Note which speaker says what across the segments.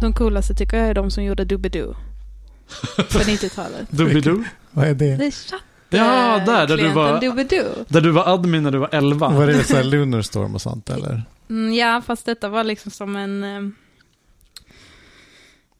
Speaker 1: De coolaste tycker jag är de som gjorde Doobidoo. På 90-talet.
Speaker 2: Doobidoo?
Speaker 3: Vad är
Speaker 1: Det
Speaker 3: det?
Speaker 1: är chatt. Eh,
Speaker 2: Ja, där, där du var-
Speaker 1: Doobidoo.
Speaker 2: Där du var admin när du var 11.
Speaker 3: Var det så här Lunar Storm och sånt eller?
Speaker 1: Mm, ja, fast detta var liksom som en... eh,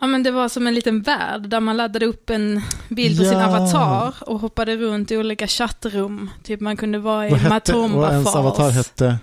Speaker 1: Ja, men det var som en liten värld där man laddade upp en bild på sin
Speaker 3: Ja.
Speaker 1: avatar och hoppade runt i olika chattrum. Typ man kunde vara i
Speaker 3: Vad hette,
Speaker 1: Matomba
Speaker 3: vad ens avatar
Speaker 1: Falls.
Speaker 3: hette?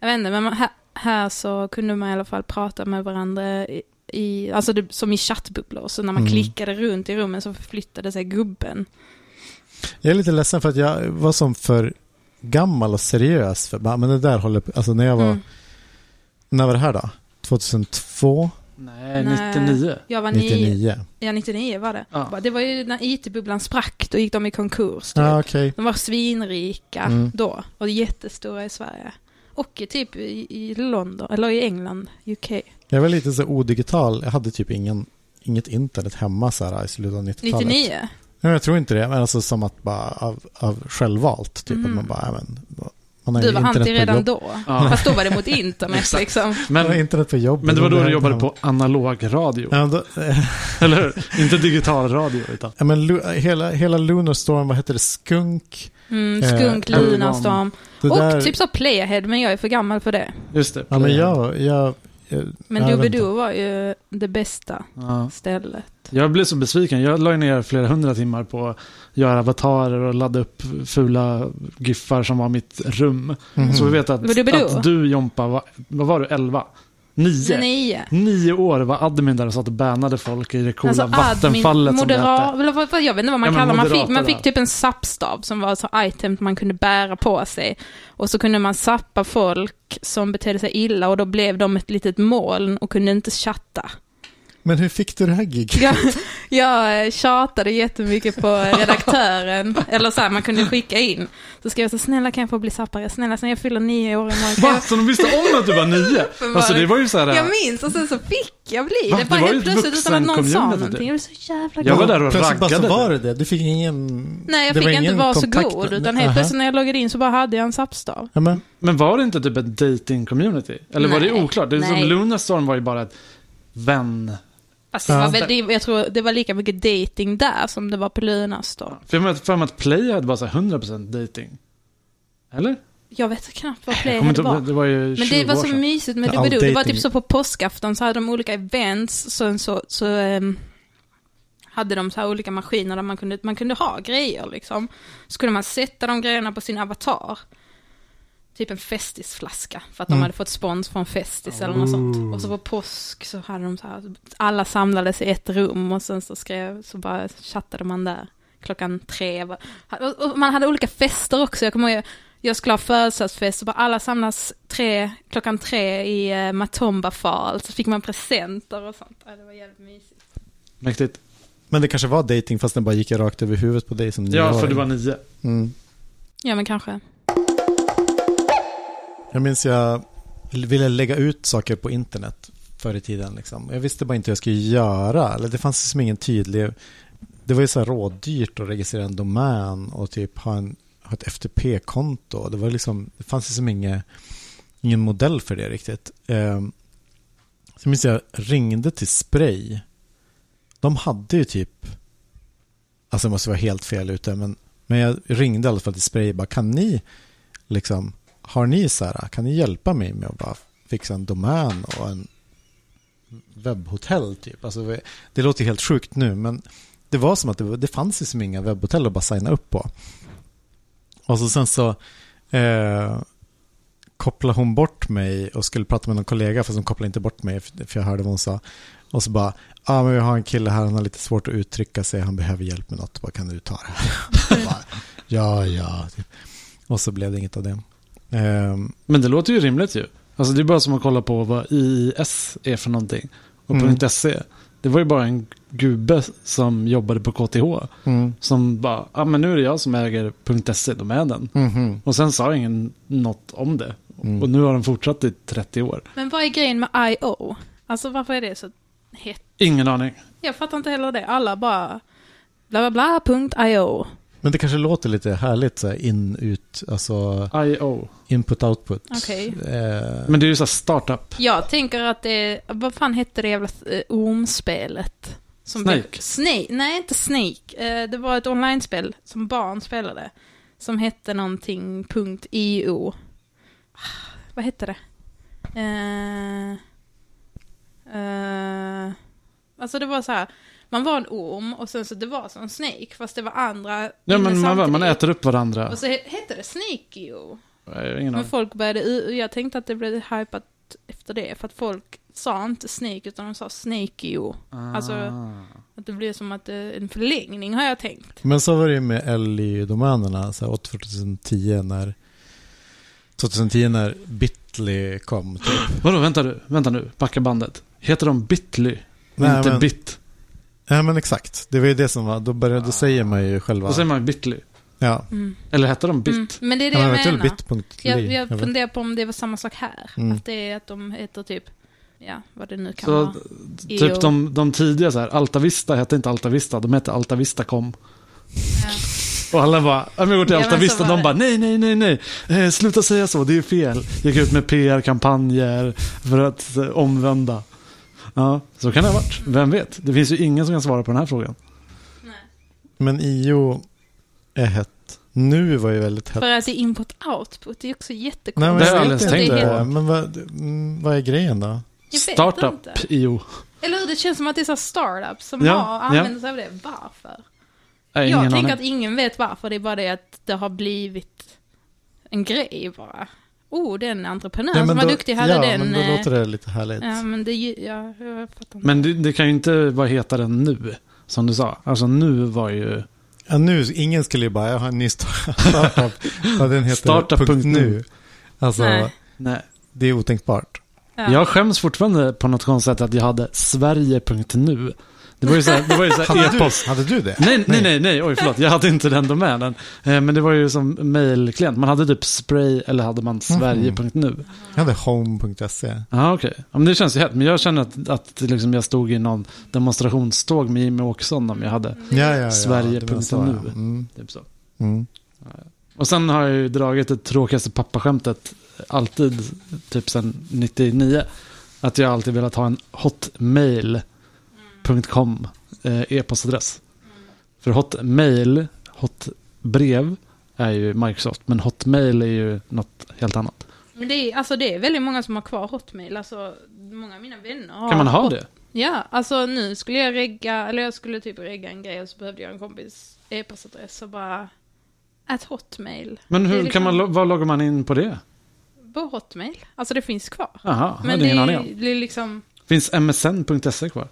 Speaker 1: Jag vet inte, men man, här, här så kunde man i alla fall prata med varandra i, i alltså det, som i chattbubblor. Så när man
Speaker 3: Mm.
Speaker 1: klickade runt i rummen så förflyttade sig gubben.
Speaker 3: Jag är lite ledsen för att jag var som för gammal och seriös för bara, men det där håller på, alltså när jag var,
Speaker 1: Mm.
Speaker 3: när var det här då? 2002?
Speaker 2: Nej,
Speaker 1: Nej.
Speaker 2: 99.
Speaker 1: Jag var 99,
Speaker 3: 99?
Speaker 1: ja 99 var det.
Speaker 2: Ja.
Speaker 1: Det var ju när it-bubblan sprack, då gick de i konkurs.
Speaker 3: Ja,
Speaker 1: typ.
Speaker 3: okej.
Speaker 1: De var svinrika
Speaker 3: Mm.
Speaker 1: då och jättestora i Sverige. Och i typ i, i London, eller i England, UK.
Speaker 3: Jag var lite så odigital, jag hade typ ingen, inget internet hemma så här i slutet av 90-talet.
Speaker 1: 99.
Speaker 3: Nej, jag tror inte det, men alltså som att bara av, av självvalt, typ
Speaker 1: Mhm.
Speaker 3: att man bara, ja, men, man har
Speaker 1: Du
Speaker 3: ju
Speaker 1: var
Speaker 3: internet
Speaker 1: anti
Speaker 3: på
Speaker 1: redan
Speaker 3: jobb-
Speaker 1: då.
Speaker 2: Ja.
Speaker 1: Fast då var det mot internet
Speaker 2: Exakt.
Speaker 1: liksom.
Speaker 3: Man har
Speaker 2: Men,
Speaker 3: internet på jobbet.
Speaker 2: men det var då
Speaker 3: och
Speaker 2: du
Speaker 3: är
Speaker 2: jobbade
Speaker 3: hemma.
Speaker 2: på analog radio.
Speaker 3: Ja, då,
Speaker 2: Eller hur? Inte digital radio utan.
Speaker 3: ja, men Lu- hela, hela Lunar Storm, vad hette det, Skunk?
Speaker 1: Mm,
Speaker 3: Eh,
Speaker 1: skunk,
Speaker 2: Elvan.
Speaker 1: lunarstorm.
Speaker 3: Det
Speaker 1: Och
Speaker 3: där,
Speaker 1: typ så Playahead, men jag är för gammal för det.
Speaker 2: Just det.
Speaker 3: Ja, men jag, jag, jag
Speaker 1: Men
Speaker 3: jag vet
Speaker 1: Doobidoo var ju det bästa
Speaker 2: Ja.
Speaker 1: stället.
Speaker 2: Jag blev så besviken. Jag la ju ner flera hundra timmar på att göra avatarer och ladda upp fula giffar som var mitt rum.
Speaker 3: Mhm.
Speaker 2: Mm. Så vi vet
Speaker 1: Vad du
Speaker 2: att,
Speaker 1: bedå?
Speaker 2: att du Jompa, var, vad var du, 11? 9?
Speaker 1: Nio.
Speaker 2: Nio år var admin där och satt och bannade folk i det coola
Speaker 1: Alltså,
Speaker 2: vattenfallet som det hette.
Speaker 1: moderat, eller vad, vad, jag vet inte vad man
Speaker 2: Ja, men
Speaker 1: kallar man fick,
Speaker 2: moderater
Speaker 1: man
Speaker 2: där.
Speaker 1: fick typ en sappstav som var så item man kunde bära på sig. Och så kunde man sappa folk som betedde sig illa och då blev de ett litet moln och kunde inte chatta.
Speaker 3: Men hur fick du det här giget?
Speaker 1: Jag, jag eh, tjatade jättemycket på eh, redaktören, eller så här, man kunde skicka in. Så skrev jag så snälla kan jag få bli sappare, snälla sen jag fyller nio år imorgon. Kan
Speaker 2: Va? Så de visste om att du var nio?
Speaker 1: För
Speaker 2: Alltså
Speaker 1: var-
Speaker 2: det var ju så här.
Speaker 1: Jag, jag minns och sen så fick jag bli
Speaker 2: Va?
Speaker 1: det.
Speaker 2: Det
Speaker 1: Bara
Speaker 2: var ju
Speaker 1: helt
Speaker 2: ett
Speaker 1: plötsligt utan att någon sa
Speaker 2: vuxen-community.
Speaker 1: någonting. Jag blev så jävla
Speaker 2: Jag
Speaker 1: glad.
Speaker 2: var där och
Speaker 3: Plötsligt bara så
Speaker 2: raggade.
Speaker 3: var det det. Du fick ingen...
Speaker 1: Nej, jag
Speaker 3: det
Speaker 1: fick inte
Speaker 3: ingen
Speaker 1: vara så
Speaker 3: kontakt.
Speaker 1: god, utan helt
Speaker 3: Aha.
Speaker 1: plötsligt när jag loggade in så bara hade jag en sappstav.
Speaker 3: Ja, men,
Speaker 2: Men var det inte typ ett dating community? Eller var det
Speaker 1: Nej.
Speaker 2: oklart? Det är som
Speaker 1: Nej.
Speaker 2: Lunarstorm var ju bara ett vän.
Speaker 1: Fast Alltså, det var
Speaker 3: Ja.
Speaker 1: väl, det, jag tror det var lika mycket dating där som det var på Lunarstorm.
Speaker 2: För jag har för mig att Playhead var så här 100% dating. Eller?
Speaker 1: Jag vet knappt vad
Speaker 2: Jag kommer
Speaker 1: Playhead
Speaker 2: inte ihåg,
Speaker 1: var.
Speaker 2: det var ju
Speaker 1: Men
Speaker 2: 20
Speaker 1: det var
Speaker 2: år
Speaker 1: så
Speaker 2: sedan.
Speaker 1: mysigt med
Speaker 3: Ja, all
Speaker 1: Doobidoo. Det var
Speaker 3: dating.
Speaker 1: typ så på påskafton så hade de olika events, så, så, så ehm, hade de så här olika maskiner där man kunde, man kunde ha grejer liksom. Så kunde man sätta de grejerna på sin avatar. Typ en festisflaska, för att de
Speaker 3: Mm.
Speaker 1: hade fått spons från Festis eller något sånt. Och så på påsk så hade de så här, alla samlades i ett rum och sen så skrev, så bara chattade man där klockan tre. var- och- och Man hade olika fester också, jag kommer ihåg, jag skulle ha födelsedagsfest och bara alla samlas tre, klockan tre i eh, Matomba Falls, så fick man presenter och sånt. Ja, det var jävligt mysigt.
Speaker 2: Mäktigt.
Speaker 3: men det kanske var dating fast den bara gick rakt över huvudet på dig som
Speaker 2: Ja,
Speaker 3: nioåring.
Speaker 2: för du var nio.
Speaker 3: mm.
Speaker 1: Ja men kanske.
Speaker 3: Jag minns jag ville lägga ut saker på internet förr i tiden. Liksom. Jag visste bara inte hur jag skulle göra. Eller det fanns liksom ingen tydlig... Det var ju så här rådyrt att registrera en domän och typ ha, en, ha ett FTP-konto. Det, var liksom, det fanns liksom inge, ingen modell för det riktigt. Um, så minns jag ringde till Spray. De hade ju typ... Alltså det måste vara helt fel ute, men, men jag ringde i alla fall till Spray bara kan ni liksom har ni så här, kan ni hjälpa mig med att bara fixa en domän och en webbhotell typ? Alltså, det låter helt sjukt nu, men det var som att det, det fanns ju som inga webbhotell att bara signa upp på. Och så sen så eh, kopplade hon bort mig och skulle prata med någon kollega, fast hon kopplade inte bort mig, för för jag hörde vad hon sa. Och så bara, ja ah, men vi har en kille här, han har lite svårt att uttrycka sig, han behöver hjälp med något, vad kan du ta det här? Jag bara, ja, ja. typ. Och så blev det inget av det. Ehm,
Speaker 2: Men det låter ju rimligt ju. Alltså det är bara som att kolla på vad IIS är för någonting. Och på
Speaker 3: Mm.
Speaker 2: .se. Det var ju bara en gubbe som jobbade på KTH.
Speaker 3: Mm.
Speaker 2: Som bara, ja ah, men nu är det jag som äger E, .se-domänen.
Speaker 3: Mhm.
Speaker 2: Och sen sa ingen något om det.
Speaker 3: Mm.
Speaker 2: Och nu har de fortsatt i 30 år.
Speaker 1: Men vad är grejen med I.O.? Alltså varför är det så hett?
Speaker 2: Ingen aning.
Speaker 1: Jag fattar inte heller det. Alla bara bla bla bla punkt I.O.
Speaker 3: Men det kanske låter lite härligt så här in, ut, alltså
Speaker 2: I.O.
Speaker 3: input, output.
Speaker 1: Okej.
Speaker 3: Eh,
Speaker 2: Men det är ju så här startup.
Speaker 1: Jag tänker att det, vad fan hette det jävla eh, ormspelet? Som
Speaker 2: Snake.
Speaker 1: blev- Snake, nej inte Snake. Eh, Det var ett online-spel som barn spelade. Som hette någonting punkt .io. Ah, Vad hette det? Eh, eh, alltså det var så här, man var en orm och sen så det var som Snake fast det var andra
Speaker 2: Ja,
Speaker 1: inne
Speaker 2: men man, man
Speaker 1: samtidigt.
Speaker 2: äter upp varandra.
Speaker 1: Och så he- hette det Snake.io.
Speaker 2: Nej, Ingen
Speaker 1: Men
Speaker 2: aning.
Speaker 1: folk började, u- jag tänkte att det blev hypat efter det, för att folk sa inte Snake utan de sa Snakeo. alltså-
Speaker 2: Ah.
Speaker 1: Att det blev som att det är en förlängning har jag tänkt.
Speaker 3: Men så var det ju med LY-domänerna, så här 2010 när 2010 när Bitly kom. Typ.
Speaker 2: Vadå, vänta nu, vänta nu, backa bandet. Heter de Bitly?
Speaker 3: Nej,
Speaker 2: inte
Speaker 3: men-
Speaker 2: Bit.
Speaker 3: Ja men exakt, det var ju det som var, då, började, då säger man ju själva.
Speaker 2: Då säger man Bitly.
Speaker 3: ja.
Speaker 1: Mm.
Speaker 2: Eller heter de Bit?
Speaker 1: Mm. Men det är det
Speaker 3: Ja,
Speaker 1: jag
Speaker 3: men vet du
Speaker 1: menar.
Speaker 3: väl bit.ly?
Speaker 1: jag,
Speaker 3: Jag
Speaker 1: jag
Speaker 3: vet.
Speaker 1: funderar på om det var samma sak här.
Speaker 3: Mm.
Speaker 1: Att det är att de heter typ, ja vad det nu kan
Speaker 2: Så
Speaker 1: vara. E
Speaker 2: d- typ
Speaker 1: EO.
Speaker 2: de, de tidiga så här, Altavista hette inte Altavista, de hette Altavista.com.
Speaker 1: Ja.
Speaker 2: Och alla bara, "Ja, men vi går till
Speaker 1: Ja, men så
Speaker 2: Altavista,
Speaker 1: var
Speaker 2: de
Speaker 1: det.
Speaker 2: bara nej, nej, nej, nej, eh, sluta säga så, det är ju fel. Gick ut med PR-kampanjer för att eh, omvända. Ja, så kan det ha varit, vem vet? Det finns ju ingen som kan svara på den här frågan.
Speaker 1: Nej.
Speaker 3: Men IO är hett. Nu var ju väldigt hett.
Speaker 1: För att det är input-output, det är också jättekonstigt.
Speaker 3: Nej, men
Speaker 2: Det
Speaker 3: jag
Speaker 2: har jag
Speaker 3: vet
Speaker 2: aldrig
Speaker 1: tänkt
Speaker 3: inte.
Speaker 2: på.
Speaker 3: Men vad, mm, vad är grejen då?
Speaker 1: Jag vet
Speaker 2: Startup,
Speaker 1: inte.
Speaker 2: IO.
Speaker 1: Eller hur, det känns som att det är så här startups som
Speaker 2: Ja,
Speaker 1: har
Speaker 2: ja.
Speaker 1: använder sig av det. Varför?
Speaker 2: Nej,
Speaker 1: jag
Speaker 2: ingen
Speaker 1: tänker att
Speaker 2: aning.
Speaker 1: ingen vet varför, det är bara det att det har blivit en grej bara. Oh, den entreprenör
Speaker 3: Ja,
Speaker 1: som
Speaker 3: men
Speaker 1: var
Speaker 3: då-
Speaker 1: duktig hade
Speaker 3: ja,
Speaker 1: den...
Speaker 3: men då
Speaker 1: eh,
Speaker 3: låter det lite härligt.
Speaker 1: Ja, men det... Ja, jag fattar inte.
Speaker 2: Men det, det kan ju inte vara hetare än nu, som du sa. Alltså nu var ju...
Speaker 3: Ja, nu, ingen skulle ju bara, jag har en ny start- startup. Vad den heter.
Speaker 2: Startup.nu.
Speaker 3: punkt .nu. Alltså,
Speaker 1: Nej.
Speaker 2: Nej.
Speaker 3: det är otänkbart.
Speaker 1: Ja.
Speaker 2: Jag skäms fortfarande på något konstigt sätt att jag hade Sverige.nu. Det var ju så här, det var ju så här
Speaker 3: Hade
Speaker 2: e-post.
Speaker 3: du, hade du det?
Speaker 2: Nej, nej, nej, nej, oj förlåt, jag hade inte den domänen. Eh, Men det var ju som mailklient, man hade typ spray eller hade man sverige.nu.
Speaker 3: Jag hade home.se.
Speaker 2: Ja, okej. Ja, men det känns ju hett, men jag känner att, att liksom jag stod i någon demonstrationståg med Jimmie Åkesson om jag hade
Speaker 3: Ja, ja, ja.
Speaker 2: Sverige
Speaker 3: det var så,
Speaker 2: punkt
Speaker 3: ja.
Speaker 2: nu.
Speaker 3: Mm,
Speaker 2: typ så.
Speaker 3: mm.
Speaker 2: Och sen har jag ju dragit det tråkigaste pappaskämtet alltid, typ sedan 99. Att jag alltid velat ha en hotmail.com eh, e-postadress.
Speaker 1: Mm.
Speaker 2: För hotmail, hotbrev, är ju Microsoft. Men hotmail är ju något helt annat.
Speaker 1: Men det är, alltså, det är väldigt många som har kvar Hotmail. Alltså, många av mina vänner har...
Speaker 2: Kan man ha
Speaker 1: Hot-
Speaker 2: det?
Speaker 1: Ja, alltså nu skulle jag regga, eller jag skulle typ regga en grej och så behövde jag en kompis e-postadress och bara... Att Hotmail.
Speaker 2: Men
Speaker 1: Det är
Speaker 2: hur
Speaker 1: liksom-
Speaker 2: kan man, lo- vad loggar man in på det?
Speaker 1: På Hotmail. Alltså det finns kvar.
Speaker 2: Jaha, jag
Speaker 1: Men
Speaker 2: hade
Speaker 1: det
Speaker 2: ingen aning om.
Speaker 1: är, det är liksom...
Speaker 2: Finns msn.se E kvar?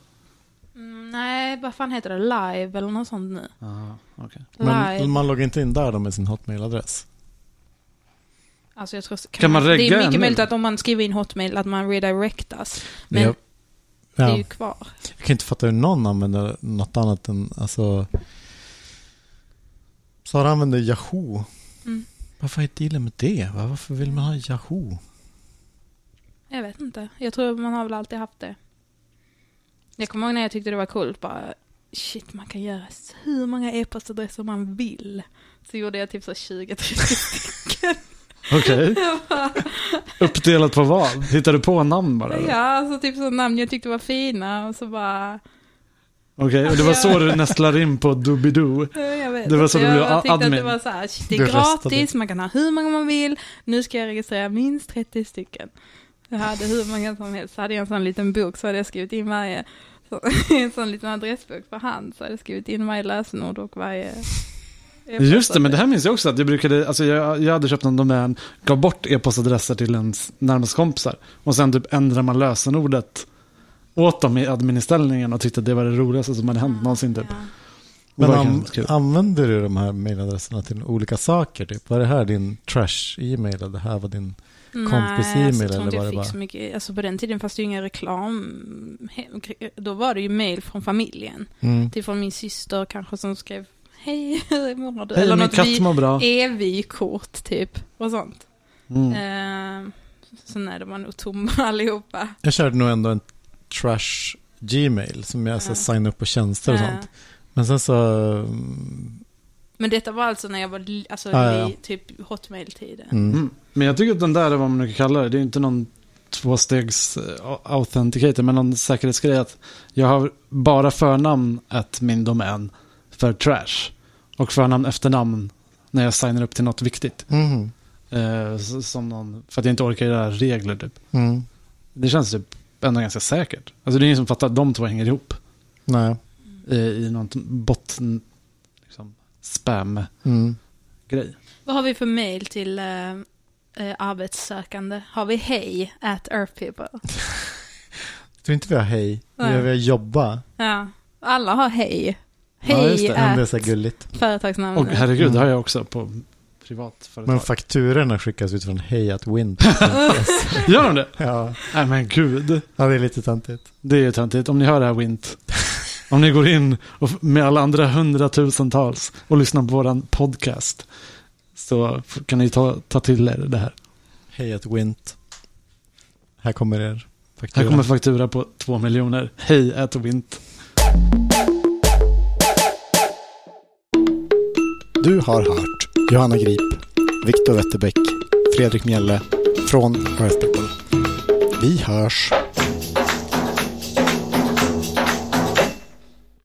Speaker 1: Mm, Nej, vad fan heter det? Live eller något sånt nu.
Speaker 2: Jaha, okej.
Speaker 1: Live.
Speaker 3: Men man loggar inte in där då med sin hotmail-adress.
Speaker 1: alltså jag tror, kan,
Speaker 2: Kan man
Speaker 1: Det är
Speaker 2: regga
Speaker 1: mycket
Speaker 2: en
Speaker 1: möjligt
Speaker 2: nu?
Speaker 1: att om man skriver in Hotmail att man redirectas. Men
Speaker 3: Jag-
Speaker 1: det
Speaker 3: ja.
Speaker 1: är ju kvar.
Speaker 3: Jag kan inte fatta hur någon använder något annat än, alltså... Sara använder Yahoo.
Speaker 1: Mm.
Speaker 3: Varför är dealen med det? va? Varför vill man ha Yahoo?
Speaker 1: Jag vet inte. Jag tror man har väl alltid haft det. Jag kommer ihåg när jag tyckte det var coolt bara shit man kan göra så hur många e-postadresser man vill. Så gjorde jag typ så 20-30 stycken.
Speaker 2: Okej,
Speaker 1: Jag bara,
Speaker 2: uppdelat på vad? Hittar du på namn bara? eller?
Speaker 1: ja, alltså typ så namn jag tyckte var fina och så bara,
Speaker 2: Okej, och det var så du nästlar in på Doobidoo?
Speaker 1: eh, jag vet
Speaker 2: Det var
Speaker 1: inte.
Speaker 2: så du
Speaker 1: jag
Speaker 2: blev
Speaker 1: bara tyckte att det
Speaker 2: admin.
Speaker 1: var så här, shit, det
Speaker 3: Du
Speaker 1: är
Speaker 3: röstade.
Speaker 1: gratis, man kan ha hur många man vill, nu ska jag registrera minst 30 stycken. Jag hade hur många som helst, så hade jag en sån liten bok så hade jag skrivit in varje, så, en sån liten adressbok för hand, så hade jag skrivit in varje lösenord och varje...
Speaker 2: Just det, men det här minns jag också att jag brukade, alltså jag, jag hade köpt en domän, gav bort e-postadresser till ens närmaste kompisar och sen typ ändrar man lösenordet åt dem i adminställningen och tyckte att det var det roligaste som hade hänt någonsin typ.
Speaker 1: Ah, Ja.
Speaker 3: Men
Speaker 2: Vad
Speaker 3: an-
Speaker 2: kan- kul.
Speaker 3: använder du de här mailadresserna till olika saker? Typ? Var det här din trash-e-mail? Eller det här var din... Kompis
Speaker 1: Nej,
Speaker 3: e-mail
Speaker 1: alltså, jag
Speaker 3: eller
Speaker 1: tror inte jag
Speaker 3: var det
Speaker 1: fick
Speaker 3: bara-
Speaker 1: så mycket. Alltså på den tiden fanns det ju ingen reklam. Då var det ju mail från familjen.
Speaker 3: Mm.
Speaker 1: Typ från min syster kanske som skrev Hej, hur mår du?
Speaker 2: Hej, min katt
Speaker 1: vi-
Speaker 2: mår bra.
Speaker 1: EV-kort typ och sånt.
Speaker 2: Mm.
Speaker 1: Eh, så nej, de var nog tomma allihopa.
Speaker 3: Jag körde nog ändå en trash Gmail som jag så
Speaker 1: Ja.
Speaker 3: signade upp på tjänster och
Speaker 1: Eh,
Speaker 3: sånt. Men sen så mm,
Speaker 1: Ehm, Men detta var alltså när jag var li- alltså,
Speaker 3: Ja, ja, ja.
Speaker 1: i typ hotmail-tiden.
Speaker 3: Mm.
Speaker 2: Mm. Men jag tycker att den där är vad man nu kan kalla det. Det är inte någon tvåstegs eh, authenticator, men någon säkerhetsgrej att jag har bara förnamn att min domän för trash och förnamn efternamn när jag signar upp till något viktigt.
Speaker 3: Mm.
Speaker 2: Eh, s- som någon, för att jag inte orkar göra regler typ.
Speaker 3: Mm.
Speaker 2: Det känns typ ändå ganska säkert. Alltså det är ingen som fattar att de två hänger ihop
Speaker 3: Nej.
Speaker 2: eh, i något botten liksom, spam-grej.
Speaker 3: Mm.
Speaker 1: Vad har vi för mail till eh, eh, arbetssökande? Har vi hej at Earth People?
Speaker 3: Jag tror inte vi har hej. Vi
Speaker 1: Nej.
Speaker 3: har vi har jobba.
Speaker 1: Ja, alla har hej.
Speaker 3: ja, just
Speaker 1: Hej
Speaker 3: det. Ja, Det är så här
Speaker 1: at
Speaker 3: gulligt.
Speaker 2: Och
Speaker 1: företagsnamnet.
Speaker 2: herregud, det
Speaker 3: Mm.
Speaker 2: har jag också på privat
Speaker 3: Men
Speaker 2: företag.
Speaker 3: fakturorna skickas ut från hej att win.
Speaker 2: Gör de det?
Speaker 3: ja.
Speaker 2: Nej men gud.
Speaker 3: ja, det är lite töntigt.
Speaker 2: Det är ju töntigt. Om ni hör det här Wint. Om ni går in och f- med alla andra hundratusentals och lyssnar på våran podcast. Så f- kan ni ta, ta till er det här.
Speaker 3: Hej att win. Här kommer er faktura.
Speaker 2: Här kommer faktura på två miljoner. Hej, ät Wint.
Speaker 3: Du har hört Johanna Grip, Viktor Wetterbäck, Fredrik Mjelle från Earth People. Vi hörs.